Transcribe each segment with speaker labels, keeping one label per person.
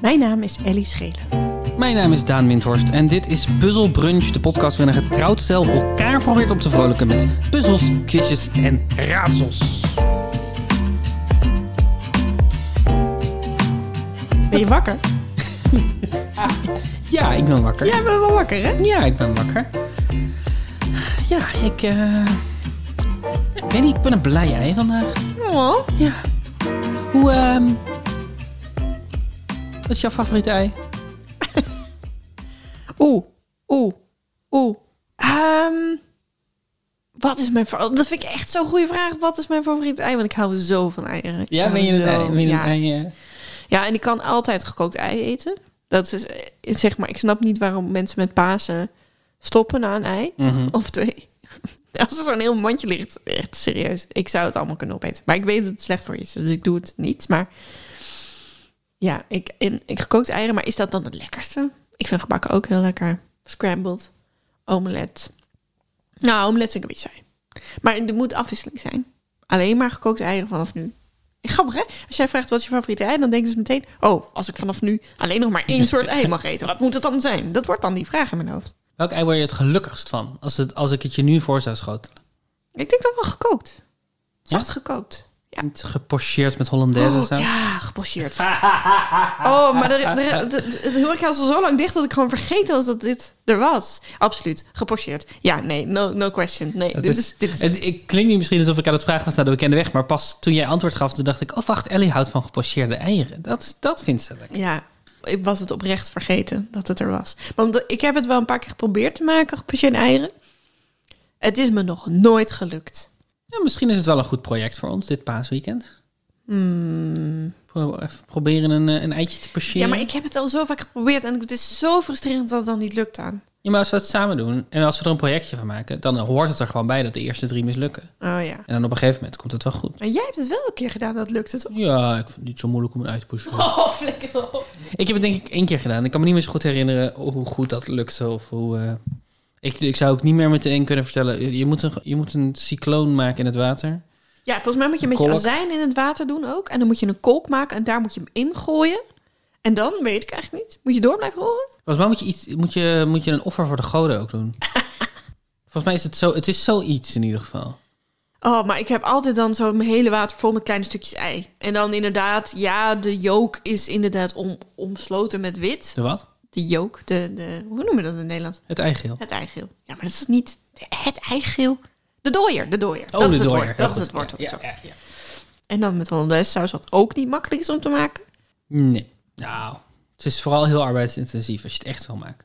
Speaker 1: Mijn naam is Ellie Schelen.
Speaker 2: Mijn naam is Daan Windhorst en dit is Puzzle Brunch, de podcast waarin een getrouwd stel elkaar probeert op te vrolijken met puzzels, quizjes en raadsels.
Speaker 1: Ben je wakker?
Speaker 2: Ja, ik ben wakker.
Speaker 1: Jij bent wel wakker, hè?
Speaker 2: Ja, ik ben wakker. Ja, ik. eh, ik weet niet, ik ben een blij ei vandaag.
Speaker 1: Oh.
Speaker 2: Ja. Hoe. ehm wat is jouw favoriete ei?
Speaker 1: Oeh, oeh, oeh. Ehm, wat is mijn... fa- oh, Dat vind ik echt zo'n goede vraag. Wat is mijn favoriete ei? Want ik hou zo van eieren. Ik
Speaker 2: Ja,
Speaker 1: hou
Speaker 2: ben je een
Speaker 1: zo-
Speaker 2: ei? Ben je een
Speaker 1: ja.
Speaker 2: ei, eh?
Speaker 1: ja, en ik kan altijd gekookt ei eten. Dat is, eh, zeg maar, ik snap niet waarom mensen met Pasen stoppen na een ei.
Speaker 2: Mhm.
Speaker 1: Of twee. Als er zo'n heel mandje ligt, echt serieus. Ik zou het allemaal kunnen opeten. Maar ik weet dat het slecht voor je is, dus ik doe het niet. Maar ja, ik, en, ik gekookt eieren, maar is dat dan het lekkerste? Ik vind gebakken ook heel lekker. Scrambled, omelet. Nou, omelet vind ik een beetje saai. Maar er moet afwisseling zijn. Alleen maar gekookte eieren vanaf nu. Grappig hè? Als jij vraagt wat is je favoriete ei, dan denken ze meteen... Oh, als ik vanaf nu alleen nog maar één soort ei mag eten, wat moet het dan zijn? Dat wordt dan die vraag in mijn hoofd.
Speaker 2: Welk ei word je het gelukkigst van als, het, als ik het je nu voor zou schotelen?
Speaker 1: Ik denk dat wel gekookt.
Speaker 2: Ja?
Speaker 1: Zacht gekookt. Ja.
Speaker 2: Niet gepocheerd met Hollandaise en
Speaker 1: Oh,
Speaker 2: zo?
Speaker 1: ja, gepocheerd. oh, maar de, de, de, de horeca was al zo lang dicht dat ik gewoon vergeten was dat dit er was. Absoluut, gepocheerd. Ja, nee, no, no question. Nee,
Speaker 2: Dat
Speaker 1: dit
Speaker 2: is-
Speaker 1: is... Dit is
Speaker 2: Het, ik klink niet misschien alsof ik aan het vragen was naar de bekende weg, maar pas toen jij antwoord gaf, toen dacht ik, oh wacht, Ellie houdt van gepocheerde eieren. Dat, dat vindt ze lekker.
Speaker 1: Ja, ik was het oprecht vergeten dat het er was. Maar omdat, ik heb het wel een paar keer geprobeerd te maken, gepocheerde eieren. Het is me nog nooit gelukt.
Speaker 2: Ja, misschien is het wel een goed project voor ons, dit paasweekend.
Speaker 1: Hmm.
Speaker 2: Pro- even proberen een, eh, een eitje te pocheren.
Speaker 1: Ja, maar ik heb het al zo vaak geprobeerd en het is zo frustrerend dat het dan niet lukt aan.
Speaker 2: Ja, maar als we het samen doen en als we er een projectje van maken, dan hoort het er gewoon bij dat de eerste drie mislukken.
Speaker 1: Oh ja.
Speaker 2: En dan op een gegeven moment komt het wel goed.
Speaker 1: En jij hebt het wel een keer gedaan, dat lukte toch?
Speaker 2: Ja, ik vind het niet zo moeilijk om een ei te pocheren.
Speaker 1: Oh, flikker op.
Speaker 2: Ik heb het denk ik één keer gedaan. Ik kan me niet meer zo goed herinneren hoe goed dat lukte. Of hoe, eh, ik, ik zou ook niet meer meteen kunnen vertellen. Je- Je moet, een, je moet een cycloon maken in het water.
Speaker 1: Ja, volgens mij moet je
Speaker 2: Een
Speaker 1: met je
Speaker 2: kolk.
Speaker 1: azijn in het water doen ook. En dan moet je een kolk maken en daar moet je hem ingooien. En dan, weet ik eigenlijk niet, moet je door blijven horen?
Speaker 2: Volgens mij moet je, iets, moet je, moet je een offer voor de goden ook doen. Volgens mij is het zo. Het is zoiets in ieder geval.
Speaker 1: Oh, maar ik heb altijd dan zo mijn hele water vol met kleine stukjes ei. En dan inderdaad, ja, de yolk is inderdaad om, omsloten met wit.
Speaker 2: De wat?
Speaker 1: De yolk, de, de, hoe noemen we dat in Nederland?
Speaker 2: Het eigeel.
Speaker 1: Het eigeel. Ja, maar dat is niet de- het eigeel. De dooier, de dooier.
Speaker 2: Oh,
Speaker 1: dat
Speaker 2: de
Speaker 1: is het
Speaker 2: dooier.
Speaker 1: woord.
Speaker 2: Heel
Speaker 1: Dat is
Speaker 2: goed.
Speaker 1: het woord. dat ik
Speaker 2: Ja,
Speaker 1: zocht.
Speaker 2: ja, ja.
Speaker 1: En dan met hollandaise saus, wat ook niet makkelijk is om te maken.
Speaker 2: Nee. Nou, het is vooral heel arbeidsintensief als je het echt wil maken.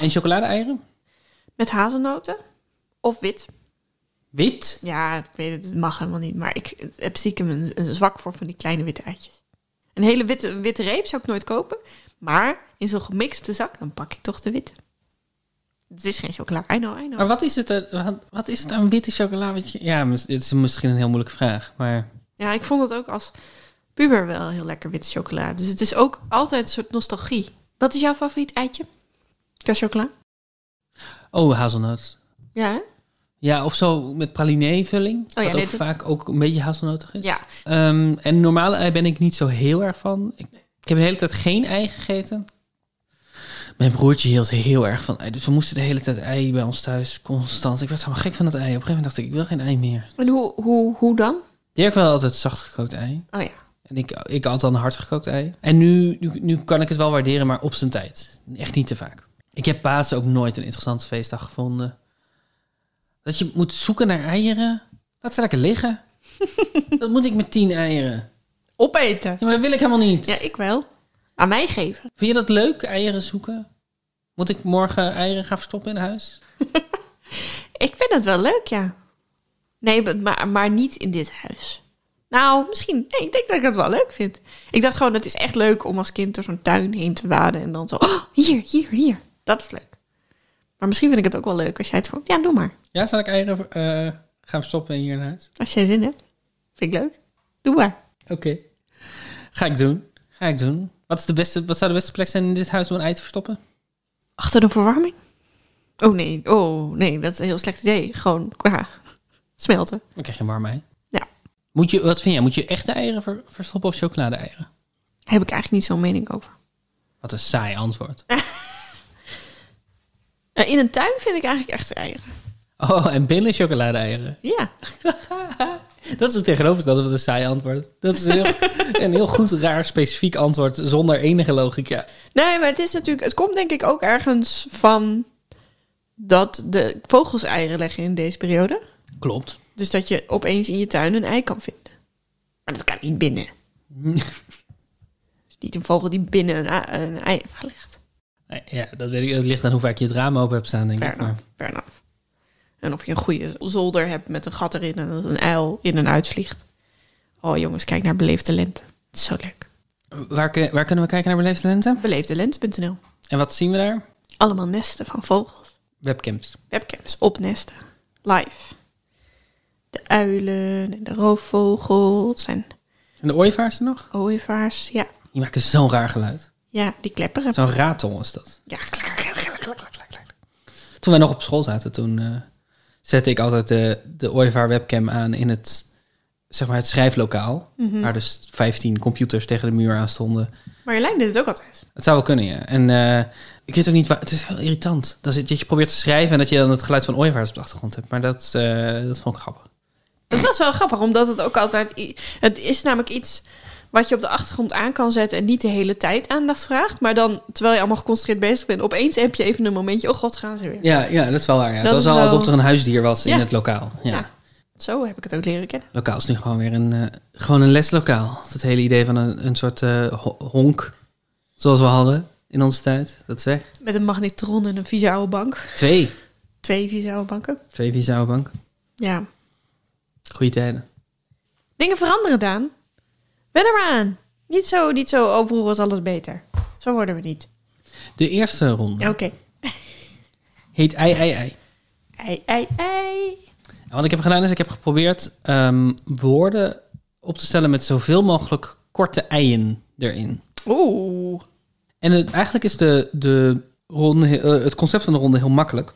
Speaker 2: En chocolade-eieren?
Speaker 1: Met hazelnoten of wit.
Speaker 2: Wit?
Speaker 1: Ja, ik weet het, het mag helemaal niet. Maar ik heb stiekem een, een zwak voor van die kleine witte eitjes. Een hele witte, witte reep zou ik nooit kopen. Maar in zo'n gemixte zak, dan pak ik toch de witte. Het is geen chocola. Oh. I know, I know.
Speaker 2: Maar wat is het, eh, wat, wat is het aan witte chocola? wat je- Ja, mis- dit is misschien een heel moeilijke vraag. Maar
Speaker 1: Ja, ik vond het ook als puber wel heel lekker witte chocola. Dus het is ook altijd een soort nostalgie. Wat is jouw favoriet eitje? Qua chocola?
Speaker 2: Oh, hazelnoot.
Speaker 1: Ja, hè?
Speaker 2: Ja, of zo met pralinee-vulling.
Speaker 1: ja,
Speaker 2: wat ook
Speaker 1: nee, dat-
Speaker 2: vaak ook een beetje hazelnotig is.
Speaker 1: Ja.
Speaker 2: Ehm, en normale ei ben ik niet zo heel erg van. Ik, ik heb de hele tijd geen ei gegeten. Mijn broertje hield heel erg van ei. Dus we moesten de hele tijd ei bij ons thuis. Constant. Ik werd helemaal gek van dat ei. Op een gegeven moment dacht ik, ik wil geen ei meer.
Speaker 1: En hoe, hoe, hoe dan?
Speaker 2: Dirk wel altijd zacht gekookt ei.
Speaker 1: Oh ja.
Speaker 2: En ik, ik had dan hard gekookt ei. En nu, nu, nu kan ik het wel waarderen, maar op zijn tijd. Echt niet te vaak. Ik heb Pasen ook nooit een interessante feestdag gevonden. Dat je moet zoeken naar eieren. Laat ze lekker liggen. dat moet ik met tien eieren.
Speaker 1: Opeten.
Speaker 2: Ja, maar dat wil ik helemaal niet.
Speaker 1: Ja, ik wel. Aan mij geven.
Speaker 2: Vind je dat leuk, eieren zoeken? Moet ik morgen eieren gaan verstoppen in huis?
Speaker 1: Ik vind het wel leuk, ja. Nee, maar- maar, maar niet in dit huis. Nou, misschien. Nee, ik denk dat ik het wel leuk vind. Ik dacht gewoon, het is echt leuk om als kind door zo'n tuin heen te waden. En dan zo, oh, hier, hier, hier. Dat is leuk. Maar misschien vind ik het ook wel leuk als jij het voor... Ja, doe maar.
Speaker 2: Ja, zal ik eieren eh, gaan verstoppen hier in huis?
Speaker 1: Als jij zin hebt. Vind ik leuk. Doe maar.
Speaker 2: Oké. Ga ik doen. Ga ik doen. Wat, is de beste, wat zou de beste plek zijn in dit huis om een ei te verstoppen?
Speaker 1: Achter de verwarming? Oh nee, oh nee, dat is een heel slecht idee. Gewoon, ja, smelten.
Speaker 2: Dan krijg je een warm ei.
Speaker 1: Ja.
Speaker 2: Moet je, wat vind jij? Moet je echte eieren ver- verstoppen of chocolade-eieren?
Speaker 1: Heb ik eigenlijk niet zo'n mening over.
Speaker 2: Wat een saai antwoord.
Speaker 1: Eh, in een tuin vind ik eigenlijk echt eieren.
Speaker 2: Oh, en binnen chocolade-eieren.
Speaker 1: Ja.
Speaker 2: Dat is het tegenovergestelde van een saai antwoord. Dat is een heel, een heel goed, raar, specifiek antwoord zonder enige logica.
Speaker 1: Nee, maar het is natuurlijk. Het komt denk ik ook ergens van dat de vogels eieren leggen in deze periode.
Speaker 2: Klopt.
Speaker 1: Dus dat je opeens in je tuin een ei kan vinden. Maar dat kan niet binnen. Het is niet een vogel die binnen een, a- een ei heeft gelegd.
Speaker 2: Nee, Ja, dat, weet ik, dat ligt aan hoe vaak je het raam open hebt staan, denk
Speaker 1: Fair
Speaker 2: ik. Maar
Speaker 1: enough. Fair enough. En of je een goede zolder hebt met een gat erin en dat een uil in en uit vliegt. Oh jongens, kijk naar Beleefde Lente. Het is zo leuk.
Speaker 2: waar, kun- waar kunnen we kijken naar beleefde lente?
Speaker 1: Beleefdelente.nl
Speaker 2: En wat zien we daar?
Speaker 1: Allemaal nesten van vogels.
Speaker 2: Webcams.
Speaker 1: webcams opnesten. Live. De uilen en de roofvogels en
Speaker 2: En de ooievaars er nog?
Speaker 1: ooievaars. Ja,
Speaker 2: Die maken zo'n raar geluid.
Speaker 1: ja die klepperen.
Speaker 2: Zo'n ratel is dat.
Speaker 1: Ja, klak, klak, klak, klak, klak, klak, klak, klak.
Speaker 2: Toen wij nog op school zaten, toen eh, zette ik altijd de, de ooievaar webcam aan in het, zeg maar het schrijflokaal.
Speaker 1: Mhm.
Speaker 2: Waar dus 15 computers tegen de muur aan stonden.
Speaker 1: Marjolein deed het ook altijd.
Speaker 2: Het zou wel kunnen, ja. En eh, ik weet ook niet waar... Het is heel irritant. Dat, is, dat je probeert te schrijven en dat je dan het geluid van ooievaars op de achtergrond hebt. Maar dat, eh, dat vond ik grappig.
Speaker 1: Het was wel grappig, omdat het ook altijd... i- Het is namelijk iets wat je op de achtergrond aan kan zetten... en niet de hele tijd aandacht vraagt. Maar dan, terwijl je allemaal geconcentreerd bezig bent... opeens heb je even een momentje... oh god, gaan ze weer.
Speaker 2: Ja, ja dat is wel waar. Ja.
Speaker 1: Dat
Speaker 2: Het was
Speaker 1: is
Speaker 2: wel
Speaker 1: wel-
Speaker 2: alsof er een huisdier was in
Speaker 1: Ja.
Speaker 2: het lokaal. Ja.
Speaker 1: Ja. Zo heb ik het ook leren kennen.
Speaker 2: Lokaal is nu gewoon weer een, eh, gewoon een leslokaal. Dat hele idee van een, een soort eh, ho- honk, zoals we hadden in onze tijd. Dat is weg.
Speaker 1: Met een magnetron en een vieze oude bank.
Speaker 2: Twee.
Speaker 1: Twee vieze oude banken.
Speaker 2: Twee visa bank.
Speaker 1: Ja.
Speaker 2: Goeie tijden.
Speaker 1: Dingen veranderen, Daan. Wen er maar aan. Niet zo, niet zo, oh, vroeger was alles beter. Zo worden we niet.
Speaker 2: De eerste ronde
Speaker 1: Ja, Oké.
Speaker 2: heet Ei Ei Ei.
Speaker 1: Ei, ei, ei.
Speaker 2: En Wat ik heb gedaan is, ik heb geprobeerd ehm, woorden op te stellen met zoveel mogelijk korte eien erin.
Speaker 1: Oeh.
Speaker 2: En het, eigenlijk is de, de ronde, he- eh, het concept van de ronde heel makkelijk.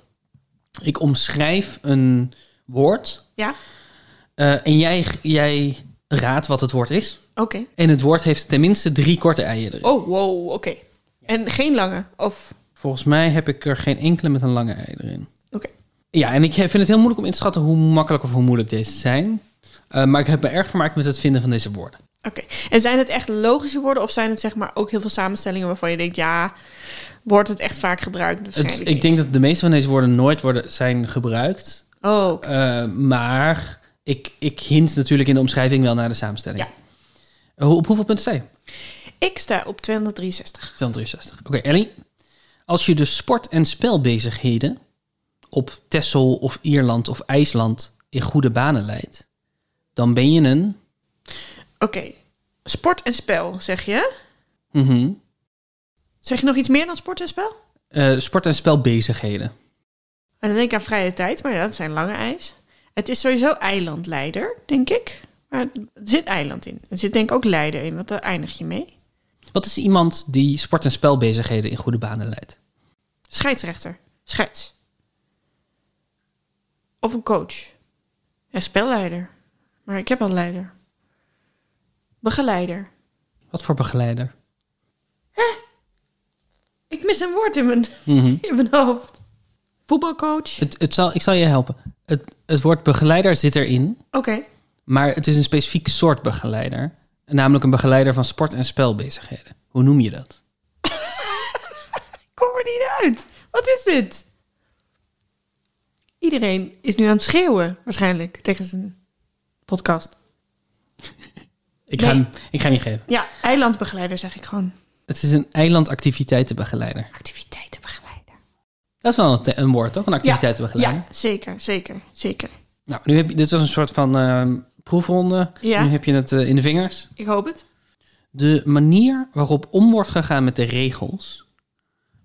Speaker 2: Ik omschrijf een woord
Speaker 1: Ja,
Speaker 2: eh, en jij, jij raadt wat het woord is.
Speaker 1: oké.
Speaker 2: En het woord heeft tenminste drie korte eieren erin.
Speaker 1: Oh, wow, oké. En geen lange, of...
Speaker 2: Volgens mij heb ik er geen enkele met een lange ei erin.
Speaker 1: Oké.
Speaker 2: Ja, en ik vind het heel moeilijk om in te schatten hoe makkelijk of hoe moeilijk deze zijn. Eh, maar ik heb me erg vermaakt met het vinden van deze woorden.
Speaker 1: Oké. En zijn het echt logische woorden, of zijn het zeg maar ook heel veel samenstellingen waarvan je denkt, ja, wordt het echt vaak gebruikt?
Speaker 2: Het-
Speaker 1: Waarschijnlijk
Speaker 2: ik denk dat de meeste van deze woorden nooit worden, zijn gebruikt.
Speaker 1: dat... Oh, oké.
Speaker 2: Eh, maar ik, ik hint natuurlijk in de omschrijving wel naar de samenstelling.
Speaker 1: Ja.
Speaker 2: Eh, Hoe, op hoeveel punten sta je?
Speaker 1: ik sta op 263.
Speaker 2: 263. Oké, Ellie. Als je de sport- en spelbezigheden op Texel of Ierland of IJsland in goede banen leidt, dan ben je een...
Speaker 1: Oké. Sport en spel, zeg je?
Speaker 2: Mhm.
Speaker 1: Zeg je nog iets meer dan sport en spel?
Speaker 2: Eh, sport- en spelbezigheden.
Speaker 1: En dan denk ik aan vrije tijd, maar ja, dat zijn lange ijs. Het is sowieso eilandleider, denk ik. Maar er zit eiland in. Er zit denk ik ook leider in, want daar eindig je mee.
Speaker 2: Wat is iemand die sport- en spelbezigheden in goede banen leidt?
Speaker 1: Scheidsrechter. Scheids. Of een coach. Ja, spelleider. Maar ik heb al leider. Begeleider.
Speaker 2: Wat voor begeleider?
Speaker 1: Ik mis een woord in mijn,
Speaker 2: Mhm.
Speaker 1: in mijn hoofd. Voetbalcoach. Oké.
Speaker 2: Het, het zal, ik zal je helpen. Het, het woord begeleider zit erin, maar het is een specifiek soort begeleider. Namelijk een begeleider van sport- en spelbezigheden. Hoe noem je dat?
Speaker 1: Ik kom er niet uit. Wat is dit? Iedereen is nu aan het schreeuwen, waarschijnlijk, tegen zijn podcast.
Speaker 2: Ik,
Speaker 1: Nee.
Speaker 2: ga, hem- ik ga hem je geven.
Speaker 1: Ja, eilandbegeleider zeg ik gewoon.
Speaker 2: Het is een eilandactiviteitenbegeleider.
Speaker 1: Activiteitenbegeleider.
Speaker 2: Dat is wel een, te- een woord, toch? Een activiteitenbegeleider.
Speaker 1: Ja, zeker, zeker, zeker.
Speaker 2: Nou, nu heb je, dit was een soort van ehm, proefronde.
Speaker 1: Ja.
Speaker 2: Nu heb je het eh, in de vingers.
Speaker 1: Ik hoop het.
Speaker 2: De manier waarop om wordt gegaan met de regels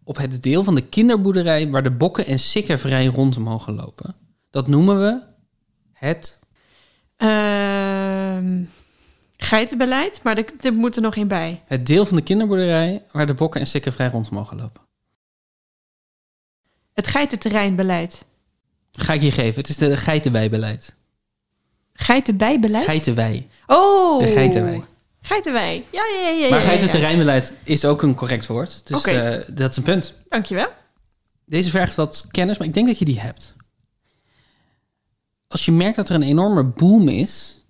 Speaker 2: op het deel van de kinderboerderij waar de bokken en sikken vrij rond mogen lopen, dat noemen we het.
Speaker 1: Ehm, geitenbeleid, maar er, er moet er nog één bij.
Speaker 2: Het deel van de kinderboerderij waar de bokken en sikken vrij rond mogen lopen.
Speaker 1: Het geitenterreinbeleid.
Speaker 2: Ga ik je geven. Het is de geitenweibeleid.
Speaker 1: Geitenbijbeleid?
Speaker 2: Geitenwei.
Speaker 1: oh!
Speaker 2: De geitenwei.
Speaker 1: Geitenwei. Ja, ja, ja. ja
Speaker 2: Maar
Speaker 1: ja, ja, ja.
Speaker 2: geitenterreinbeleid is ook een correct woord. Dus
Speaker 1: Oké.
Speaker 2: eh, dat is een punt.
Speaker 1: Dankjewel.
Speaker 2: Deze vergt wat kennis, maar ik denk dat je die hebt. Als je merkt dat er een enorme boom is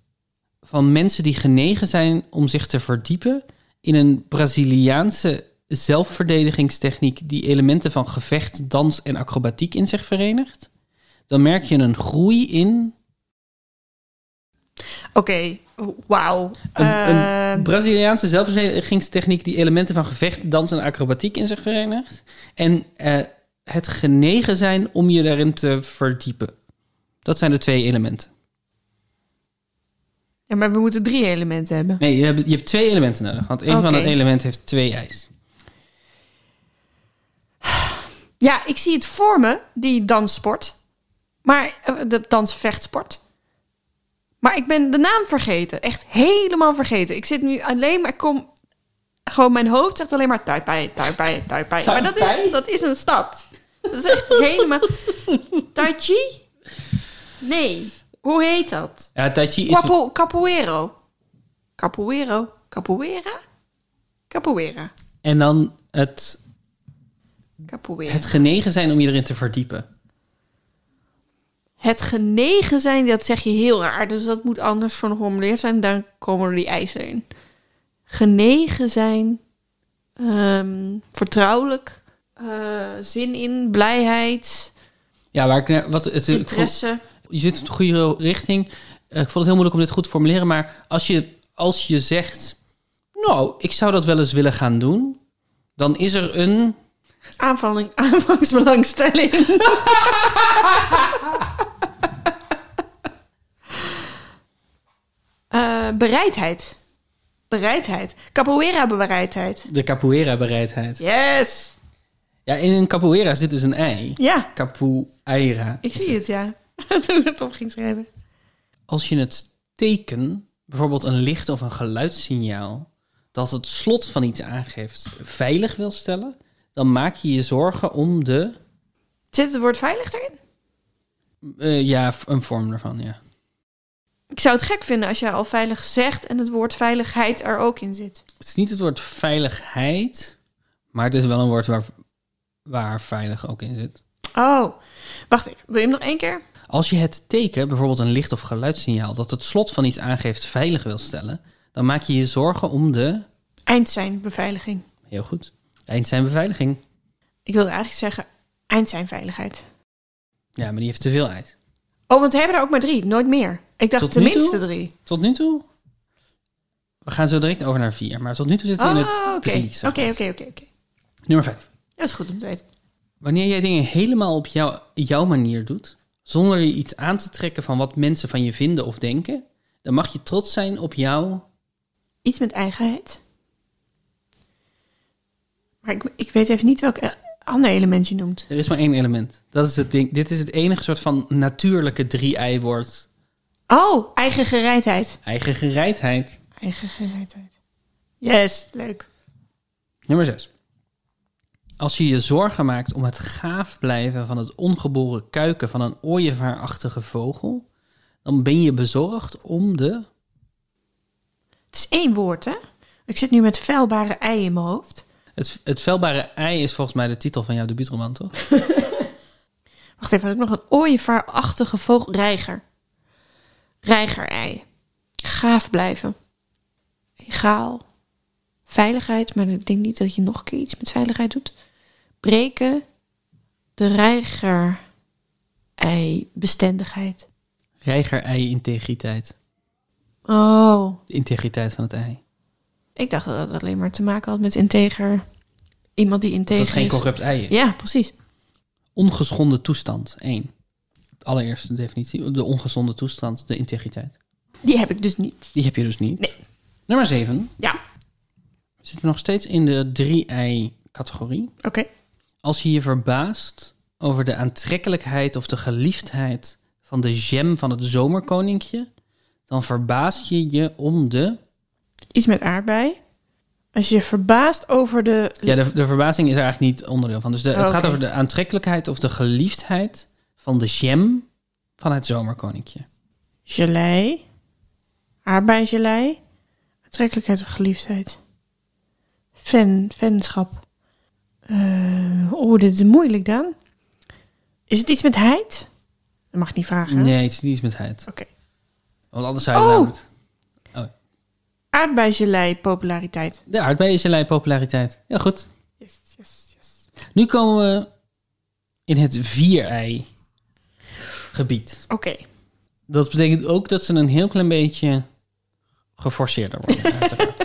Speaker 2: van mensen die genegen zijn om zich te verdiepen in een Braziliaanse zelfverdedigingstechniek die elementen van gevecht, dans en acrobatiek in zich verenigt, dan merk je een groei in
Speaker 1: Oké, oh, wauw.
Speaker 2: Een,
Speaker 1: Eh,
Speaker 2: een Braziliaanse zelfverdedigingstechniek die elementen van gevecht, dans en acrobatiek in zich verenigt. En eh, het genegen zijn om je daarin te verdiepen. Dat zijn de twee elementen.
Speaker 1: ja, maar we moeten drie elementen hebben.
Speaker 2: Nee, je hebt, je hebt twee elementen nodig. Want één van
Speaker 1: Oké.
Speaker 2: dat element heeft twee eisen.
Speaker 1: Ja, ik zie het voor me, die danssport. Maar, eh, de dansvechtsport. Maar ik ben de naam vergeten. Echt helemaal vergeten. Ik zit nu alleen maar, ik kom... Gewoon mijn hoofd zegt alleen maar Taipei, Taipei, Taipei. Maar dat
Speaker 2: Taipei?
Speaker 1: is, dat is een stad. Dat is echt helemaal... Tai Chi? Nee. Hoe heet dat?
Speaker 2: Ja, tai chi is...
Speaker 1: Capo, capoeiro. Capoeiro. Capoeira? Capoeira.
Speaker 2: En dan het,
Speaker 1: Capoeira.
Speaker 2: het genegen zijn om je erin te verdiepen.
Speaker 1: Het genegen zijn, dat zeg je heel raar. Dus dat moet anders formuleerd zijn. Daar komen er die eisen in. Genegen zijn. ehm, vertrouwelijk. eh, zin in. Blijheid.
Speaker 2: Ja, waar ik naar... Wat, het, ik voel-
Speaker 1: Interesse.
Speaker 2: je zit in de goede richting. Eh, ik vond het heel moeilijk om dit goed te formuleren. Maar als je, als je zegt... Nou, ik zou dat wel eens willen gaan doen. Dan is er een...
Speaker 1: Aanvalling, aanvangsbelangstelling. Eh, bereidheid. Bereidheid. Capoeira bereidheid.
Speaker 2: De capoeira-bereidheid.
Speaker 1: Yes!
Speaker 2: Ja, in een capoeira zit dus een ei.
Speaker 1: Ja,
Speaker 2: Capoeira.
Speaker 1: ik
Speaker 2: is
Speaker 1: zie het, ja. Toen ik het op ging schrijven.
Speaker 2: Als je het teken, bijvoorbeeld een licht of een geluidssignaal... dat het slot van iets aangeeft, veilig wil stellen... dan maak je je zorgen om de...
Speaker 1: Zit het woord veilig erin?
Speaker 2: eh, ja, een vorm ervan, ja.
Speaker 1: Ik zou het gek vinden als jij al veilig zegt en het woord veiligheid er ook in zit.
Speaker 2: Het is niet het woord veiligheid, maar het is wel een woord waar, waar veilig ook in zit.
Speaker 1: Oh, wacht even. Wil je hem nog één keer?
Speaker 2: Als je het teken, bijvoorbeeld een licht- of geluidssignaal, dat het slot van iets aangeeft veilig wil stellen, dan maak je je zorgen om de.
Speaker 1: Eindzijnbeveiliging.
Speaker 2: Heel goed. Eind zijn beveiliging.
Speaker 1: Ik wilde eigenlijk zeggen eindzijnveiligheid.
Speaker 2: Ja, maar die heeft te veel uit.
Speaker 1: Oh, want we hebben er ook maar drie, nooit meer. Ik dacht
Speaker 2: Tot nu
Speaker 1: tenminste
Speaker 2: toe?
Speaker 1: drie.
Speaker 2: Tot nu toe. We gaan zo direct over naar vier, maar tot nu toe zitten we in
Speaker 1: Oh,
Speaker 2: het
Speaker 1: oké.
Speaker 2: drie. zeg maar.
Speaker 1: Oké, oké, oké, oké.
Speaker 2: Nummer vijf.
Speaker 1: Dat is goed om te weten.
Speaker 2: Wanneer jij dingen helemaal op jou, jouw manier doet, zonder je iets aan te trekken van wat mensen van je vinden of denken, dan mag je trots zijn op jou.
Speaker 1: Iets met eigenheid. Maar ik, ik weet even niet welk eh, ander element je noemt.
Speaker 2: Er is maar één element. Dat is het ding. Dit is het enige soort van natuurlijke drie-ei-woord.
Speaker 1: Oh, eigen gereidheid.
Speaker 2: Eigen gereidheid.
Speaker 1: Eigen gereidheid. Yes, leuk.
Speaker 2: Nummer 6. Als je je zorgen maakt om het gaaf blijven van het ongeboren kuiken van een ooievaarachtige vogel, dan ben je bezorgd om de.
Speaker 1: Het is één woord, hè? Ik zit nu met vuilbare ei in mijn hoofd.
Speaker 2: Het, het velbare ei is volgens mij de titel van jouw debuutroman, toch?
Speaker 1: Wacht even, had ik nog een ooievaarachtige vogel. Reiger. Reigerei. Gaaf blijven. Egaal. Veiligheid, maar ik denk niet dat je nog een keer iets met veiligheid doet. Breken. De reiger. Ei. Bestendigheid.
Speaker 2: Reiger ei integriteit.
Speaker 1: Oh.
Speaker 2: De integriteit van het ei.
Speaker 1: Ik dacht dat dat alleen maar te maken had met integer. Iemand die
Speaker 2: Dat
Speaker 1: integer
Speaker 2: het geen
Speaker 1: is.
Speaker 2: corrupt ei is.
Speaker 1: Ja, precies.
Speaker 2: Ongeschonden toestand, één. Allereerste definitie. De ongezonde toestand, de integriteit.
Speaker 1: Die heb ik dus niet.
Speaker 2: Die heb je dus niet.
Speaker 1: Nee.
Speaker 2: Nummer 7.
Speaker 1: Ja,
Speaker 2: We zitten nog steeds in de drie-ei-categorie.
Speaker 1: oké.
Speaker 2: Als je je verbaast over de aantrekkelijkheid of de geliefdheid van de gem van het zomerkoninkje, dan verbaas je je om de.
Speaker 1: Iets met aardbei. Als je je verbaast over de...
Speaker 2: Ja, de, de verbazing is er eigenlijk niet onderdeel van. Dus de, het
Speaker 1: Oh, Oké.
Speaker 2: gaat over de aantrekkelijkheid of de geliefdheid van de gem van het zomerkoninkje.
Speaker 1: gelei, aardbeigelei, het Aantrekkelijkheid of geliefdheid. Fan, fanschap. Eh, oh, dit is moeilijk dan. Is het iets met heid? Dat mag ik niet vragen. hè?
Speaker 2: Nee, het is niet iets met heid.
Speaker 1: Oké.
Speaker 2: Want anders zou je
Speaker 1: Oh!
Speaker 2: namelijk...
Speaker 1: Aardbeigelei populariteit.
Speaker 2: De aardbei is in lijn populariteit. Ja, goed.
Speaker 1: Yes, yes, yes.
Speaker 2: Nu komen we in het vier-ei-gebied.
Speaker 1: Oké.
Speaker 2: Dat betekent ook dat ze een heel klein beetje geforceerder worden. uiteraard.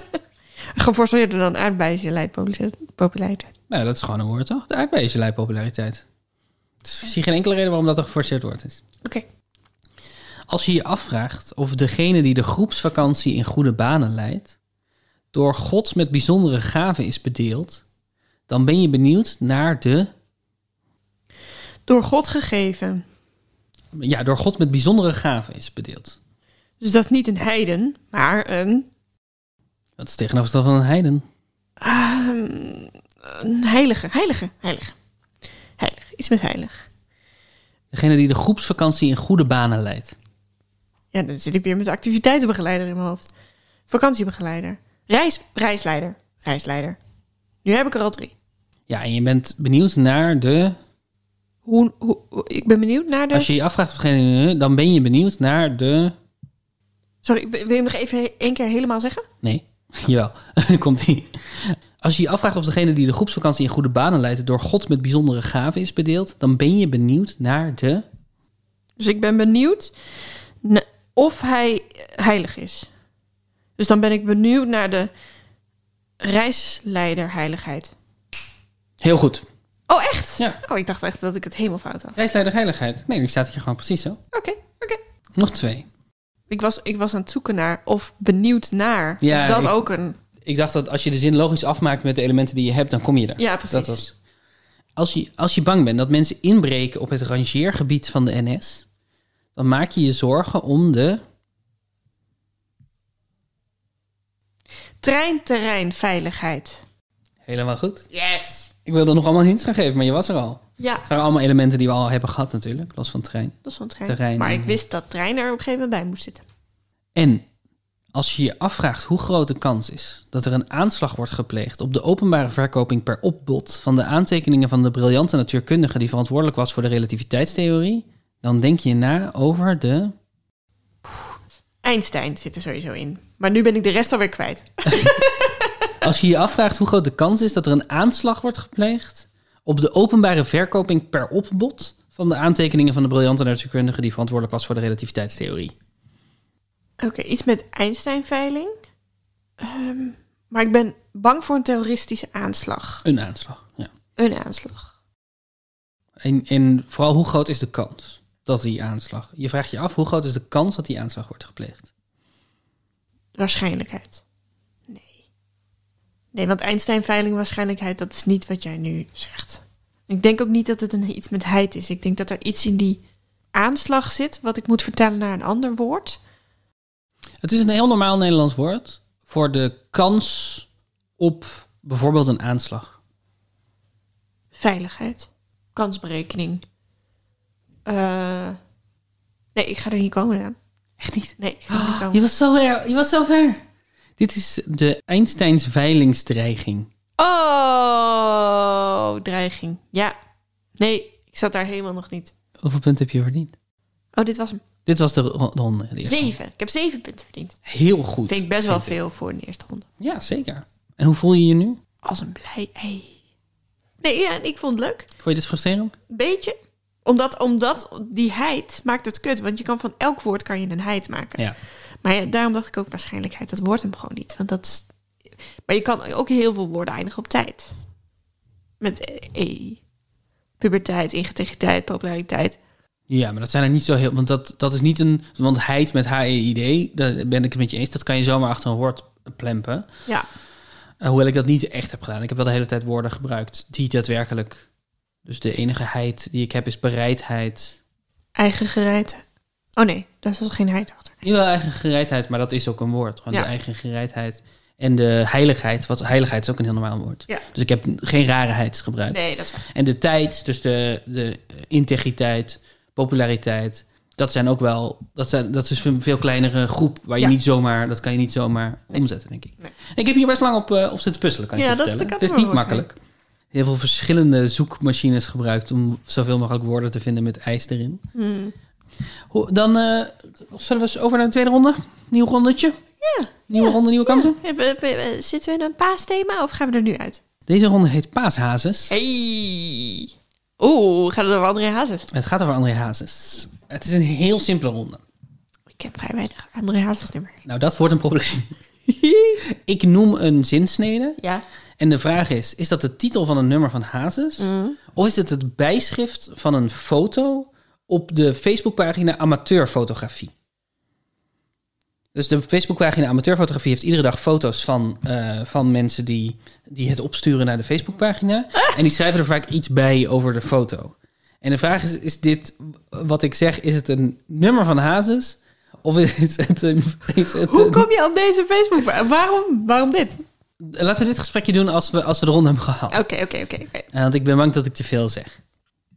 Speaker 1: Geforceerder dan aardbeigelei populariteit- populariteit.
Speaker 2: nou, dat is gewoon een woord, toch? De aardbei is in lijn populariteit. Dus ik zie geen enkele reden waarom dat een geforceerd woord is.
Speaker 1: Oké.
Speaker 2: Als je je afvraagt of degene die de groepsvakantie in goede banen leidt, door God met bijzondere gaven is bedeeld, dan ben je benieuwd naar de.
Speaker 1: Door God gegeven.
Speaker 2: Ja, door God met bijzondere gaven is bedeeld.
Speaker 1: Dus dat is niet een heiden, maar een,
Speaker 2: Dat is tegenovergesteld van een heiden.
Speaker 1: ah, een heilige. Heilige, heilige. Heilig. Iets met heilig.
Speaker 2: Degene die de groepsvakantie in goede banen leidt.
Speaker 1: Ja, dan zit ik weer met de activiteitenbegeleider in mijn hoofd. Vakantiebegeleider. Reis, reisleider. Reisleider. Nu heb ik er al drie.
Speaker 2: Ja, en je bent benieuwd naar de.
Speaker 1: Hoe, hoe, hoe- ik ben benieuwd naar de...
Speaker 2: Als je je afvraagt of degene. dan ben je benieuwd naar de.
Speaker 1: Sorry, wil wil je hem nog even he- één keer helemaal zeggen?
Speaker 2: Nee, jawel. Komt ie. Als je je afvraagt of degene die de groepsvakantie in goede banen leidt door God met bijzondere gaven is bedeeld, dan ben je benieuwd naar de.
Speaker 1: Dus ik ben benieuwd na- of hij heilig is. Dus dan ben ik benieuwd naar de reisleider heiligheid.
Speaker 2: Heel goed.
Speaker 1: Oh, echt?
Speaker 2: Ja.
Speaker 1: Oh, ik dacht echt dat ik het helemaal fout had.
Speaker 2: Reisleider heiligheid. Nee, die staat hier gewoon precies zo.
Speaker 1: Oké, oké.
Speaker 2: Nog twee.
Speaker 1: Ik, was, ik was aan het zoeken naar of benieuwd naar.
Speaker 2: Ja,
Speaker 1: of dat
Speaker 2: ik-
Speaker 1: ook een...
Speaker 2: Ik dacht dat als je de zin logisch afmaakt met de elementen die je hebt, dan kom je er.
Speaker 1: Ja, precies.
Speaker 2: Dat was. Als je, als je bang bent dat mensen inbreken op het rangeergebied van de NS, dan maak je je zorgen om de.
Speaker 1: Treinterreinveiligheid.
Speaker 2: Helemaal goed.
Speaker 1: Yes!
Speaker 2: Ik wilde nog allemaal hints gaan geven, maar je was er al.
Speaker 1: Ja,
Speaker 2: Het waren allemaal elementen die we al hebben gehad natuurlijk, los van trein.
Speaker 1: dat is zo'n trein.
Speaker 2: Terrein,
Speaker 1: maar
Speaker 2: ja.
Speaker 1: ik wist dat trein er op een gegeven moment bij moest zitten.
Speaker 2: En als je je afvraagt hoe groot de kans is dat er een aanslag wordt gepleegd op de openbare verkoping per opbod van de aantekeningen van de briljante natuurkundige die verantwoordelijk was voor de relativiteitstheorie, dan denk je na over de.
Speaker 1: Einstein zit er sowieso in. Maar nu ben ik de rest alweer kwijt.
Speaker 2: Als je je afvraagt hoe groot de kans is dat er een aanslag wordt gepleegd op de openbare verkoping per opbod van de aantekeningen van de briljante natuurkundige die verantwoordelijk was voor de relativiteitstheorie.
Speaker 1: Oké, iets met Einstein-veiling. Ehm, maar ik ben bang voor een terroristische aanslag.
Speaker 2: Een aanslag, ja.
Speaker 1: Een aanslag.
Speaker 2: En, en vooral hoe groot is de kans dat die aanslag. Je vraagt je af hoe groot is de kans dat die aanslag wordt gepleegd.
Speaker 1: Waarschijnlijkheid. Nee. Nee, want Einstein-veiling, waarschijnlijkheid, dat is niet wat jij nu zegt. Ik denk ook niet dat het een, iets met heid is. Ik denk dat er iets in die aanslag zit, wat ik moet vertellen naar een ander woord.
Speaker 2: Het is een heel normaal Nederlands woord voor de kans op bijvoorbeeld een aanslag.
Speaker 1: Veiligheid. Kansberekening. Eh, nee, ik ga er niet komen aan.
Speaker 2: Echt niet?
Speaker 1: Nee, ik ga er niet komen.
Speaker 2: Je was zo ver. Je was zo ver. Dit is de Einsteins veilingsdreiging.
Speaker 1: Oh, dreiging. Ja. Nee, ik zat daar helemaal nog niet.
Speaker 2: Hoeveel punten heb je verdiend?
Speaker 1: Oh, dit was hem.
Speaker 2: Dit was de ro- de ronde. de eerste.
Speaker 1: Zeven. Ik heb zeven punten verdiend.
Speaker 2: Heel goed.
Speaker 1: Vind ik best wel veel voor een eerste ronde.
Speaker 2: Ja, zeker. En hoe voel je je nu?
Speaker 1: Als een blij ei. Nee, ja, ik vond het leuk.
Speaker 2: Vond je dit frustrerend?
Speaker 1: Beetje. Omdat, omdat die heid maakt het kut. Want je kan van elk woord kan je een heid maken.
Speaker 2: Ja.
Speaker 1: Maar ja, daarom dacht ik ook waarschijnlijkheid. Dat wordt hem gewoon niet. Want dat is... Maar je kan ook heel veel woorden eindigen op tijd. Met e. Puberteit, integriteit, populariteit.
Speaker 2: Ja, maar dat zijn er niet zo heel... Want dat, dat is niet een... Want heid met H-E-I-D, daar ben ik het met je eens. Dat kan je zomaar achter een woord plempen.
Speaker 1: Ja.
Speaker 2: Uh, hoewel ik dat niet echt heb gedaan. Ik heb wel de hele tijd woorden gebruikt die daadwerkelijk... Dus de enige heid die ik heb is bereidheid.
Speaker 1: Eigen gereid. Oh nee, daar zat geen heid achter.
Speaker 2: Jawel, eigen gereidheid, maar dat is ook een woord. Gewoon
Speaker 1: Ja.
Speaker 2: de eigen gereidheid. En de heiligheid, wat heiligheid is ook een heel normaal woord.
Speaker 1: Ja.
Speaker 2: Dus ik heb geen rarigheid gebruikt.
Speaker 1: Nee, dat is waar.
Speaker 2: En de tijd, dus de, de integriteit, populariteit, dat zijn ook wel, dat, zijn, dat is een veel kleinere groep waar je
Speaker 1: Ja.
Speaker 2: niet zomaar, dat kan je niet zomaar
Speaker 1: Nee.
Speaker 2: omzetten, denk ik.
Speaker 1: Nee.
Speaker 2: Ik heb hier best lang op, eh, op zitten puzzelen, kan ik
Speaker 1: Ja,
Speaker 2: je
Speaker 1: dat
Speaker 2: vertellen.
Speaker 1: kan
Speaker 2: het is
Speaker 1: ik me
Speaker 2: niet
Speaker 1: wel voorstellen.
Speaker 2: makkelijk. Heel veel verschillende zoekmachines gebruikt om zoveel mogelijk woorden te vinden met ijs erin.
Speaker 1: Hmm.
Speaker 2: Hoe- Dan eh, zullen we eens over naar de tweede ronde. Nieuw rondetje.
Speaker 1: Ja.
Speaker 2: Nieuwe ronde, nieuwe kansen.
Speaker 1: Hebben- hebben- hebben- Zitten we in een paasthema of gaan we er nu uit?
Speaker 2: Deze ronde heet Paashazes.
Speaker 1: Hey. Oeh, gaat het over André Hazes?
Speaker 2: Het gaat over André Hazes. Het is een heel simpele ronde.
Speaker 1: Ik ken vrij weinig André Hazes nummer.
Speaker 2: Nou, dat wordt een probleem. Ik noem een zinsnede.
Speaker 1: ja.
Speaker 2: En de vraag is, is dat de titel van een nummer van Hazes?
Speaker 1: Mm.
Speaker 2: Of is het het bijschrift van een foto op de Facebookpagina Amateurfotografie? Dus de Facebookpagina Amateurfotografie heeft iedere dag foto's van, eh, van mensen die, die het opsturen naar de Facebookpagina. En die schrijven er vaak iets bij over de foto. En de vraag is, is dit wat ik zeg, is het een nummer van Hazes? Of is het een... Is het
Speaker 1: Hoe
Speaker 2: een-
Speaker 1: kom je op deze Facebook? Waarom, waarom dit?
Speaker 2: Laten we dit gesprekje doen als we, als we de ronde hebben gehaald.
Speaker 1: Oké, oké, oké. oké.
Speaker 2: Eh, want ik ben bang dat ik te veel zeg.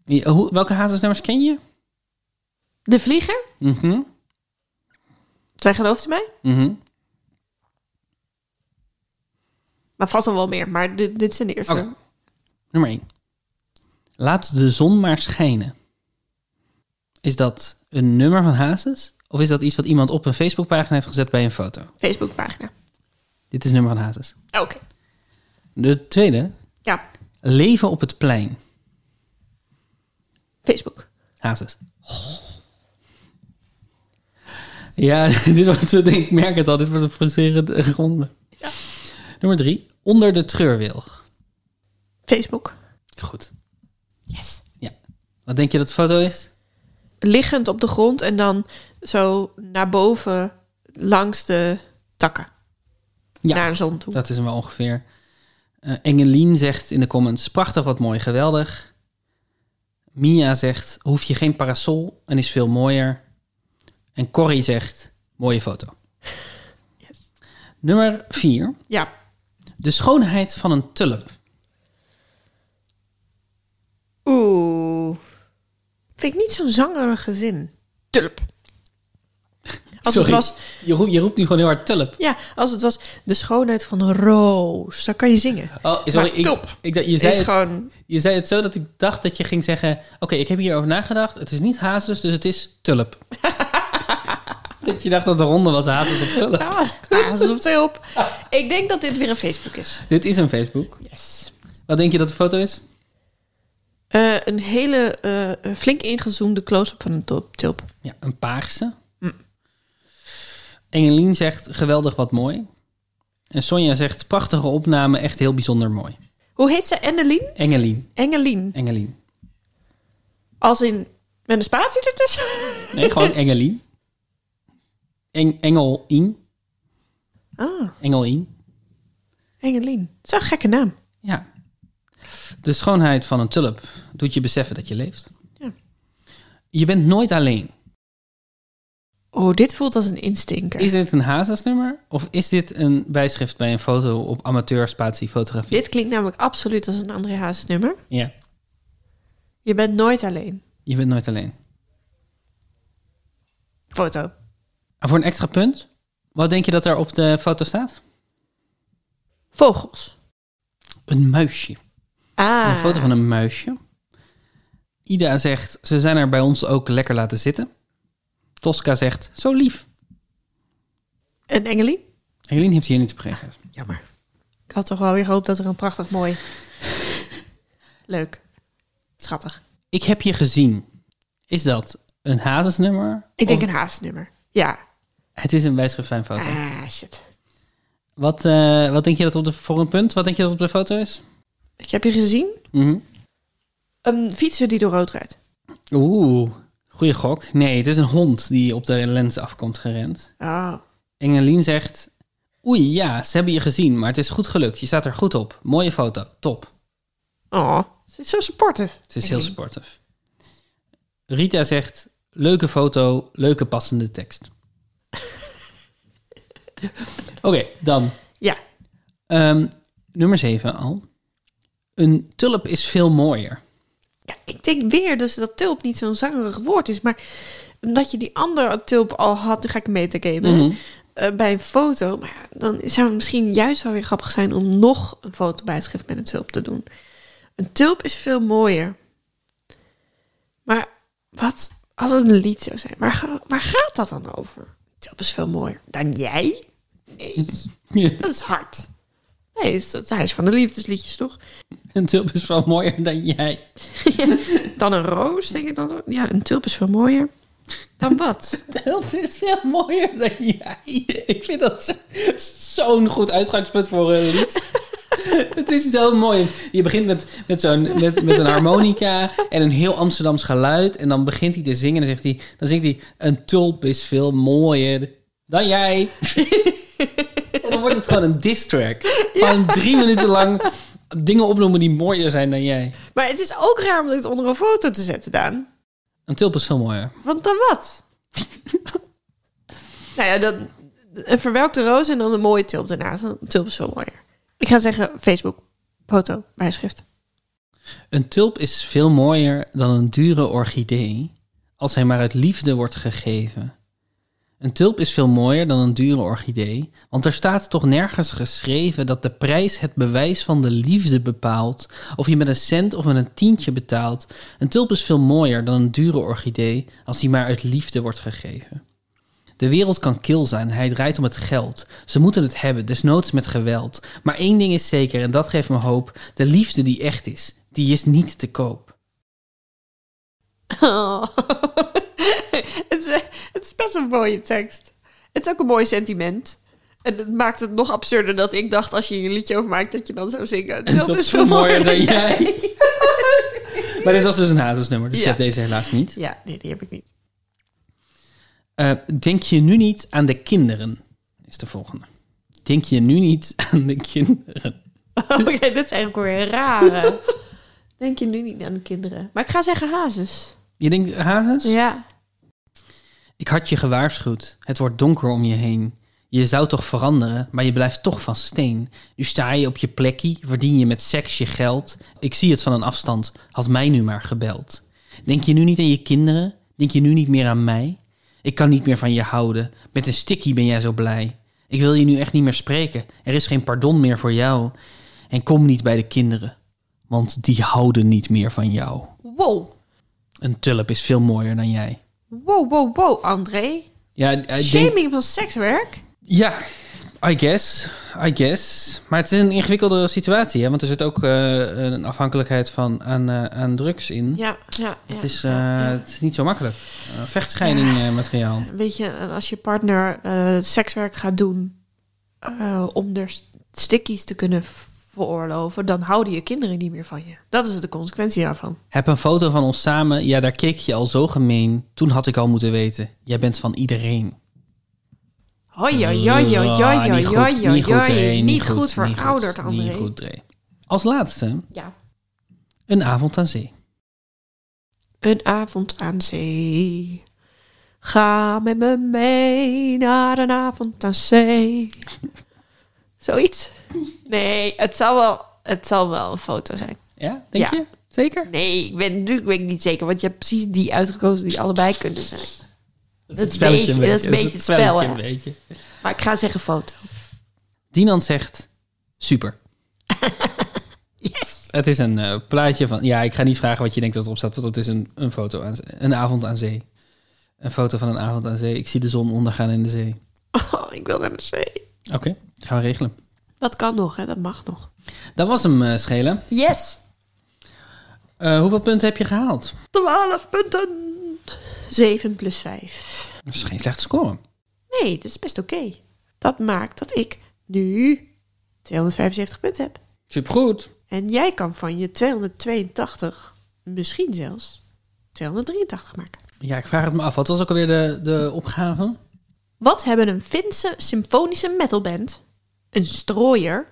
Speaker 2: Ja, hoe, welke hazesnummers ken je?
Speaker 1: De Vlieger?
Speaker 2: Mhm,
Speaker 1: Zij geloofde mij?
Speaker 2: mhm.
Speaker 1: Maar vast nog wel meer, maar dit, dit zijn de eerste.
Speaker 2: Oké. Nummer 1. Laat de zon maar schijnen. Is dat een nummer van Hazes? Of is dat iets wat iemand op een Facebookpagina heeft gezet bij een foto?
Speaker 1: Facebookpagina.
Speaker 2: Dit is een nummer van Hazes.
Speaker 1: Oh, Oké.
Speaker 2: De tweede.
Speaker 1: Ja,
Speaker 2: Leven op het plein.
Speaker 1: Facebook.
Speaker 2: Hazes. Ja, dit wordt, denk ik merk het al, dit wordt een frustrerende ronde.
Speaker 1: Ja.
Speaker 2: Nummer 3. Onder de treurwilg.
Speaker 1: Facebook.
Speaker 2: Goed.
Speaker 1: Yes.
Speaker 2: Ja. Wat denk je dat de foto is?
Speaker 1: Liggend op de grond en dan zo naar boven langs de takken.
Speaker 2: Ja.
Speaker 1: Naar de zon toe.
Speaker 2: Dat is hem wel ongeveer. Eh, Engelien zegt in de comments: prachtig, wat mooi, geweldig. Mia zegt: hoef je geen parasol en is veel mooier. En Corrie zegt: mooie foto.
Speaker 1: Yes.
Speaker 2: Nummer 4.
Speaker 1: Ja.
Speaker 2: De schoonheid van een tulp.
Speaker 1: Oeh. Vind ik niet zo'n zangerige zin. Tulp. Als
Speaker 2: Sorry,
Speaker 1: het was,
Speaker 2: je, roept, je roept nu gewoon heel hard tulp.
Speaker 1: ja, als het was de schoonheid van een roos. Dan kan je zingen.
Speaker 2: Oh, sorry.
Speaker 1: Maar
Speaker 2: ik,
Speaker 1: tulp
Speaker 2: ik, dacht- je, zei
Speaker 1: Is
Speaker 2: het,
Speaker 1: gewoon
Speaker 2: je zei het zo dat ik dacht dat je ging zeggen: Oké, ik heb hierover nagedacht. Het is niet hazes, dus het is tulp. dat je dacht dat de ronde was hazes of tulp.
Speaker 1: Ja, hazes op twee op. Ik denk dat dit weer een Facebook is.
Speaker 2: Dit is een Facebook.
Speaker 1: Yes.
Speaker 2: Wat denk je dat de foto is?
Speaker 1: een hele eh, flink ingezoomde close-up van een tulp. tulp.
Speaker 2: Ja, een paarse. Engelien zegt geweldig wat mooi. En Sonja zegt prachtige opname, echt heel bijzonder mooi.
Speaker 1: Hoe heet ze? Engelien?
Speaker 2: Engelien,
Speaker 1: Engelien.
Speaker 2: Engelien.
Speaker 1: Als in met een spatie ertussen?
Speaker 2: Nee, gewoon Engelien. Eng, Engelien,
Speaker 1: Ah,
Speaker 2: Engelien.
Speaker 1: Engelien. Zo'n gekke naam.
Speaker 2: Ja. De schoonheid van een tulp doet je beseffen dat je leeft.
Speaker 1: Ja.
Speaker 2: Je bent nooit alleen.
Speaker 1: Oh, dit voelt als een instinker.
Speaker 2: Is dit een Hazes-nummer? Of is dit een bijschrift bij een foto op amateurspatiefotografie?
Speaker 1: Dit klinkt namelijk absoluut als een André Hazes nummer.
Speaker 2: Ja,
Speaker 1: Je bent nooit alleen.
Speaker 2: je bent nooit alleen.
Speaker 1: Foto.
Speaker 2: En voor een extra punt, wat denk je dat er op de foto staat?
Speaker 1: Vogels.
Speaker 2: Een muisje.
Speaker 1: Ah.
Speaker 2: Een foto van een muisje. Ida zegt, ze zijn er bij ons ook lekker laten zitten. Tosca zegt, zo lief.
Speaker 1: En Engelien?
Speaker 2: Helene heeft hier niet op gereageerd.
Speaker 1: Jammer. Ik had toch wel weer gehoopt dat er een prachtig mooi... Leuk. Schattig.
Speaker 2: Ik heb je gezien. Is dat een hazesnummer?
Speaker 1: Ik denk
Speaker 2: Of
Speaker 1: een haastnummer. Ja.
Speaker 2: het is een wijsschrift bij een foto.
Speaker 1: Ah, shit.
Speaker 2: Wat, eh, wat denk je dat op de, voor een punt, wat denk je dat op de foto is?
Speaker 1: Ik heb je gezien?
Speaker 2: Mhm.
Speaker 1: Een fietser die door rood rijdt.
Speaker 2: Oeh, goede gok. Nee, het is een hond die op de lens afkomt gerend.
Speaker 1: Oh.
Speaker 2: Engelien zegt: Oei, ja, ze hebben je gezien, maar het is goed gelukt. Je staat er goed op. Mooie foto, top.
Speaker 1: Oh. Ze is zo supportive.
Speaker 2: Ze is heel sportief. Rita zegt: Leuke foto, leuke passende tekst. Oké, dan
Speaker 1: Ja.
Speaker 2: ehm, nummer 7 al. Een tulp is veel mooier.
Speaker 1: ja. Ik denk weer dus dat tulp niet zo'n zangerig woord is, maar omdat je die andere tulp al had, nu ga ik hem metageven,
Speaker 2: Mhm.
Speaker 1: eh, bij een foto. Maar ja, dan zou het misschien juist wel weer grappig zijn om nog een fotobijschrift met een tulp te doen. Een tulp is veel mooier. Maar wat als het een lied zou zijn? Waar, ga- waar gaat dat dan over? Een tulp is veel mooier dan jij? Nee, dat is hard. Nee, dat is- dat- hij is van de liefdesliedjes, toch?
Speaker 2: Een tulp is wel mooier dan jij.
Speaker 1: Dan een roos, denk ik dan. Ja, een tulp is veel mooier. Dan wat?
Speaker 2: Een tulp is veel mooier dan jij. Ik vind dat zo- zo'n goed uitgangspunt voor een lied. Het is zo mooi. Je begint met, met, zo'n, met, met een harmonica en een heel Amsterdams geluid. En dan begint hij te zingen en dan, zegt hij, dan zingt hij... Een tulp is veel mooier dan jij. en dan wordt het gewoon een diss track. Gewoon drie minuten lang dingen opnoemen die mooier zijn dan jij.
Speaker 1: Maar het is ook raar om dit onder een foto te zetten, Daan.
Speaker 2: Een tulp is veel mooier.
Speaker 1: Want dan wat? nou ja, dan een verwelkte roos en dan een mooie tulp daarnaast. Een tulp is veel mooier. Ik ga zeggen Facebook, foto, bijschrift.
Speaker 2: Een tulp is veel mooier dan een dure orchidee, als hij maar uit liefde wordt gegeven. Een tulp is veel mooier dan een dure orchidee, want er staat toch nergens geschreven dat de prijs het bewijs van de liefde bepaalt, of je met een cent of met een tientje betaalt. Een tulp is veel mooier dan een dure orchidee, als hij maar uit liefde wordt gegeven. De wereld kan kil zijn, hij draait om het geld. Ze moeten het hebben, desnoods met geweld. Maar één ding is zeker, en dat geeft me hoop: de liefde die echt is, die is niet te koop.
Speaker 1: Oh. het, is, het is best een mooie tekst. Het is ook een mooi sentiment. En het maakt het nog absurder dat ik dacht als je hier een liedje over maakt dat je dan zou zingen. Een tulp is veel mooier dan jij.
Speaker 2: Maar dit was dus een Hazesnummer, dus
Speaker 1: Ja.
Speaker 2: je hebt deze helaas niet.
Speaker 1: Ja, nee, die heb ik niet.
Speaker 2: Eh, denk je nu niet aan de kinderen? Is de volgende. Denk je nu niet aan de kinderen?
Speaker 1: Oké, dit is eigenlijk weer een rare. Denk je nu niet aan de kinderen. Maar ik ga zeggen hazes.
Speaker 2: Je denkt hazes?
Speaker 1: Ja.
Speaker 2: Ik had je gewaarschuwd. Het wordt donker om je heen. Je zou toch veranderen, maar je blijft toch van steen. Nu sta je op je plekje, verdien je met seks je geld. Ik zie het van een afstand, had mij nu maar gebeld. Denk je nu niet aan je kinderen? Denk je nu niet meer aan mij? Ik kan niet meer van je houden. Met een stikkie ben jij zo blij. Ik wil je nu echt niet meer spreken. Er is geen pardon meer voor jou. En kom niet bij de kinderen, want die houden niet meer van jou.
Speaker 1: Wow.
Speaker 2: Een tulp is veel mooier dan jij.
Speaker 1: Wow, wow, wow, André.
Speaker 2: Ja, eh, denk-
Speaker 1: Shaming van sekswerk?
Speaker 2: Ja, I guess. I guess. Maar het is een ingewikkelde situatie, hè? want er zit ook eh, een afhankelijkheid van aan, eh, aan drugs in.
Speaker 1: Ja, ja. ja.
Speaker 2: het, is, eh,
Speaker 1: ja, ja.
Speaker 2: het is niet zo makkelijk. Eh, vechtscheiding eh, materiaal.
Speaker 1: Weet je, en als je partner eh, sekswerk gaat doen eh, om er s- stickies te kunnen veroorloven, dan houden je kinderen niet meer van je. Dat is de consequentie daarvan.
Speaker 2: Heb een foto van ons samen. Ja, daar keek je al zo gemeen. Toen had ik al moeten weten. Jij bent van iedereen.
Speaker 1: Hoi, hoi, hoi, hoi, hoi,
Speaker 2: Ah,
Speaker 1: hoi,
Speaker 2: niet goed,
Speaker 1: hoi, hoi,
Speaker 2: niet goed, Dre,
Speaker 1: hoi. Niet goed
Speaker 2: niet
Speaker 1: verouderd,
Speaker 2: goed,
Speaker 1: André.
Speaker 2: Niet goed, Dre. Als laatste,
Speaker 1: Ja.
Speaker 2: een avond aan zee.
Speaker 1: Een avond aan zee. Ga met me mee naar een avond aan zee. Zoiets. Nee, het zal wel, het zal wel een foto zijn.
Speaker 2: Ja, denk
Speaker 1: Ja.
Speaker 2: je? Zeker?
Speaker 1: Nee, ik ben natuurlijk ben ik niet zeker, want je hebt precies die uitgekozen die allebei kunnen zijn.
Speaker 2: Dat
Speaker 1: is het spelletje een beetje, dat is een beetje het spel,
Speaker 2: spelletje
Speaker 1: hè?
Speaker 2: een beetje.
Speaker 1: Maar ik ga zeggen foto.
Speaker 2: Dinan zegt, super.
Speaker 1: Yes!
Speaker 2: Het is een eh, plaatje van. Ja, ik ga niet vragen wat je denkt dat erop staat, want het is een, een foto aan zee- een avond aan zee. Een foto van een avond aan zee. Ik zie de zon ondergaan in de zee.
Speaker 1: Oh, ik wil naar de zee.
Speaker 2: Oké, gaan we regelen.
Speaker 1: Dat kan nog, hè? Dat mag nog.
Speaker 2: Dat was hem, eh Schelen.
Speaker 1: Yes!
Speaker 2: Eh, hoeveel punten heb je gehaald?
Speaker 1: 12 punten! 7 plus 5.
Speaker 2: Dat is geen slechte score.
Speaker 1: Nee, dat is best oké. Dat maakt dat ik nu 275 punten heb.
Speaker 2: Supergoed.
Speaker 1: En jij kan van je 282, misschien zelfs 283 maken.
Speaker 2: Ja, ik vraag het me af. Wat was ook alweer de, de opgave?
Speaker 1: Wat hebben een Finse symfonische metalband, een strooier,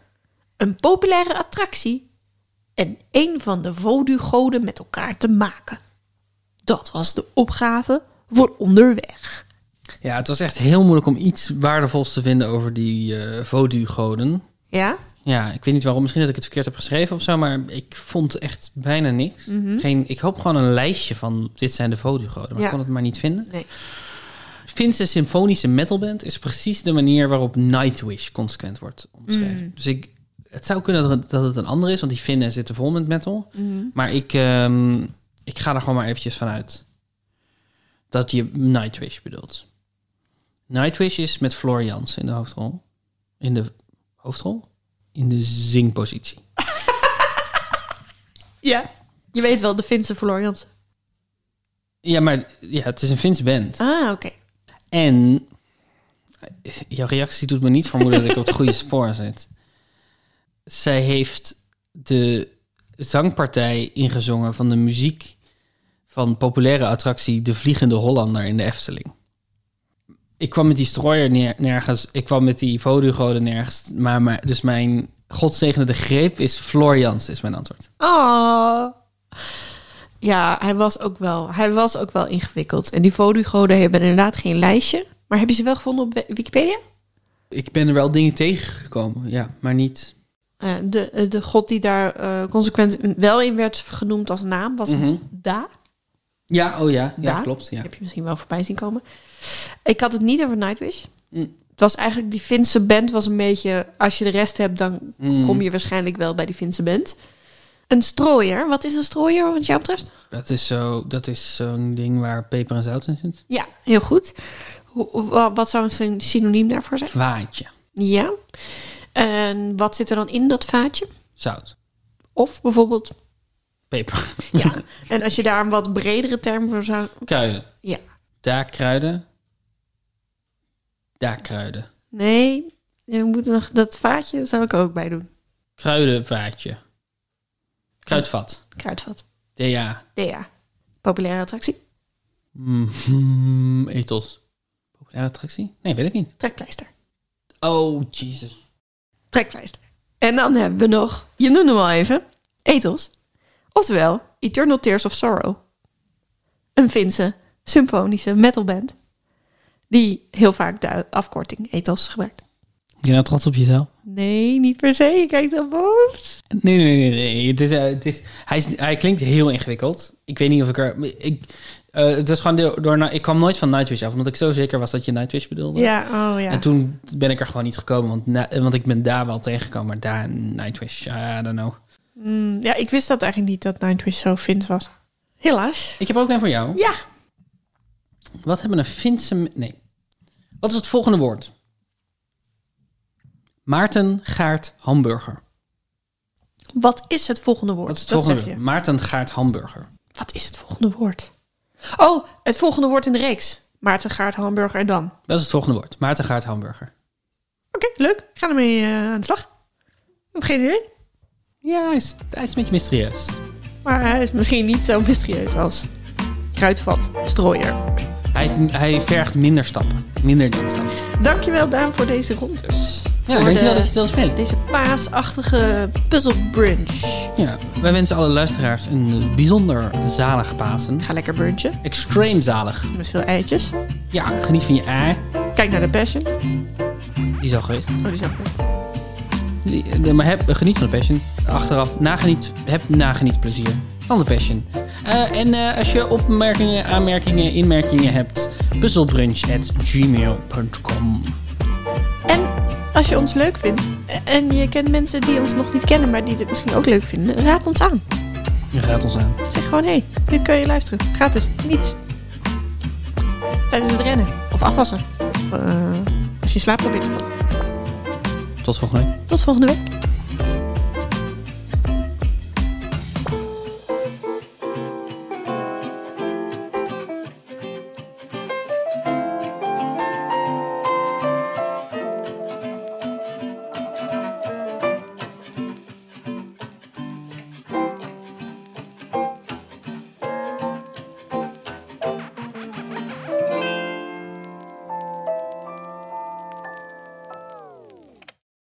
Speaker 1: een populaire attractie en een van de voodoo-goden met elkaar te maken? Dat was de opgave voor onderweg.
Speaker 2: Ja, het was echt heel moeilijk om iets waardevols te vinden over die eh voodoo-goden.
Speaker 1: Ja?
Speaker 2: Ja, ik weet niet waarom. Misschien dat ik het verkeerd heb geschreven of zo. Maar ik vond echt bijna niks.
Speaker 1: Mhm.
Speaker 2: Geen, ik hoop gewoon een lijstje van dit zijn de Vodugoden. Maar
Speaker 1: Ja.
Speaker 2: ik kon het maar niet vinden.
Speaker 1: Nee.
Speaker 2: Finse symfonische metalband is precies de manier waarop Nightwish consequent wordt omschreven.
Speaker 1: Mm.
Speaker 2: Dus ik, het zou kunnen dat het, dat het een ander is. Want die Finnen zitten vol met metal.
Speaker 1: Mhm.
Speaker 2: Maar ik, ehm, ik ga er gewoon maar eventjes vanuit dat je Nightwish bedoelt. Nightwish is met Floor Jans in de hoofdrol. In de hoofdrol? In de zingpositie.
Speaker 1: Ja. Je weet wel, de Finse Florians.
Speaker 2: Ja, maar ja, het is een Finse band.
Speaker 1: Ah, oké.
Speaker 2: En eh, jouw reactie doet me niet vermoeden dat ik op het goede spoor zit. Zij heeft de zangpartij ingezongen van de muziek van populaire attractie De Vliegende Hollander in de Efteling. Ik kwam met die strooier neer- nergens, ik kwam met die vodugoden nergens, maar, maar dus mijn godszegenende greep is Florians, is mijn antwoord.
Speaker 1: Oh. Ja, hij was, ook wel, hij was ook wel ingewikkeld. En die vodugoden hebben inderdaad geen lijstje. Maar heb je ze wel gevonden op we- Wikipedia?
Speaker 2: Ik ben er wel dingen tegengekomen, ja, maar niet.
Speaker 1: Eh, de, eh, de god die daar eh, consequent wel in werd genoemd als naam was
Speaker 2: Mhm.
Speaker 1: Da.
Speaker 2: Ja, oh ja, ja,
Speaker 1: Ja?
Speaker 2: klopt. Ja.
Speaker 1: Heb je misschien wel voorbij zien komen. Ik had het niet over Nightwish.
Speaker 2: Mm.
Speaker 1: Het was eigenlijk, die Finse band was een beetje... Als je de rest hebt, dan
Speaker 2: Mm.
Speaker 1: kom je waarschijnlijk wel bij die Finse band. Een strooier. Wat is een strooier wat jou betreft?
Speaker 2: Dat is zo- dat is zo'n ding waar peper en zout in zit.
Speaker 1: Ja, heel goed. Hoe- wa- Wat zou een synoniem daarvoor zijn?
Speaker 2: Vaatje.
Speaker 1: Ja. En wat zit er dan in dat vaatje?
Speaker 2: Zout.
Speaker 1: Of bijvoorbeeld,
Speaker 2: Peper.
Speaker 1: ja. en als je daar een wat bredere term voor zou...
Speaker 2: Kruiden.
Speaker 1: Ja.
Speaker 2: Daakruiden. Daakruiden.
Speaker 1: Nee, we moeten nog dat vaatje zou ik er ook bij doen.
Speaker 2: Kruidenvaatje. Kruidvat.
Speaker 1: Kruidvat.
Speaker 2: DA.
Speaker 1: Ja, populaire attractie.
Speaker 2: Mhm. Ethos. Populaire attractie? Nee, weet ik niet.
Speaker 1: Trekpleister.
Speaker 2: Oh, Jesus.
Speaker 1: Trekpleister. En dan hebben we nog, je noemde hem al even, Ethos. Oftewel, Eternal Tears of Sorrow. Een Finse symfonische metalband. Die heel vaak de afkorting Ethos gebruikt.
Speaker 2: Ben je nou trots op jezelf?
Speaker 1: Nee, niet per se. Ik kijk dan boos.
Speaker 2: Nee, nee, nee. nee. Het is, eh, het is, hij, is, hij klinkt heel ingewikkeld. Ik weet niet of ik er... Ik, eh, het was gewoon door, door... Ik kwam nooit van Nightwish af, omdat ik zo zeker was dat je Nightwish bedoelde.
Speaker 1: Ja, oh ja.
Speaker 2: En toen ben ik er gewoon niet gekomen, want, na- want ik ben daar wel tegengekomen. Maar daar, Nightwish, I don't know.
Speaker 1: Mm, ja, ik wist dat eigenlijk niet dat Nightwish zo Fins was. Helaas.
Speaker 2: Ik heb ook een voor jou.
Speaker 1: Ja.
Speaker 2: Wat hebben een Finse... me- Nee. Wat is het volgende woord? Maarten Gaart Hamburger.
Speaker 1: Wat is het volgende woord?
Speaker 2: Wat is het
Speaker 1: Dat
Speaker 2: volgende
Speaker 1: zeg
Speaker 2: woord?
Speaker 1: je.
Speaker 2: Maarten Gaart Hamburger.
Speaker 1: Wat is het volgende woord? Oh, het volgende woord in de reeks. Maarten Gaart, Hamburger en Dam.
Speaker 2: Dat is het volgende woord. Maarten Gaart Hamburger.
Speaker 1: Oké, leuk. Ik ga ermee eh, aan de slag. Ik heb geen idee.
Speaker 2: Ja, hij is, hij is een beetje mysterieus.
Speaker 1: Maar hij is misschien niet zo mysterieus als kruidvat, strooier.
Speaker 2: Hij, hij vergt minder stappen. Minder denkstappen.
Speaker 1: Dankjewel Daan voor deze rondes.
Speaker 2: Ja,
Speaker 1: Voor
Speaker 2: denk je wel
Speaker 1: de-
Speaker 2: dat je het wil spelen?
Speaker 1: Deze paasachtige puzzle brunch.
Speaker 2: Ja. Wij wensen alle luisteraars een bijzonder zalig Pasen.
Speaker 1: Ga lekker brunchen
Speaker 2: Extreem zalig.
Speaker 1: met veel eitjes.
Speaker 2: Ja, geniet van je ei.
Speaker 1: Kijk naar de passion. Oh,
Speaker 2: Die is al geweest.
Speaker 1: die is ook goed.
Speaker 2: Die- de- maar heb, geniet van de passion. Achteraf, nageniet, heb nageniet plezier van de passion. Eh, en eh, als je opmerkingen, aanmerkingen, inmerkingen hebt, puzzelbrunch.gmail.com.
Speaker 1: En als je ons leuk vindt eh, en je kent mensen die ons nog niet kennen, maar die dit misschien ook leuk vinden, raad ons aan.
Speaker 2: Je raadt ons aan.
Speaker 1: Zeg gewoon, hé, hey, dit kun je luisteren. Gratis, niets. Tijdens het rennen. Of afwassen. Of eh, als je slaapt probeert te vallen.
Speaker 2: Tot volgende week.
Speaker 1: Tot volgende week.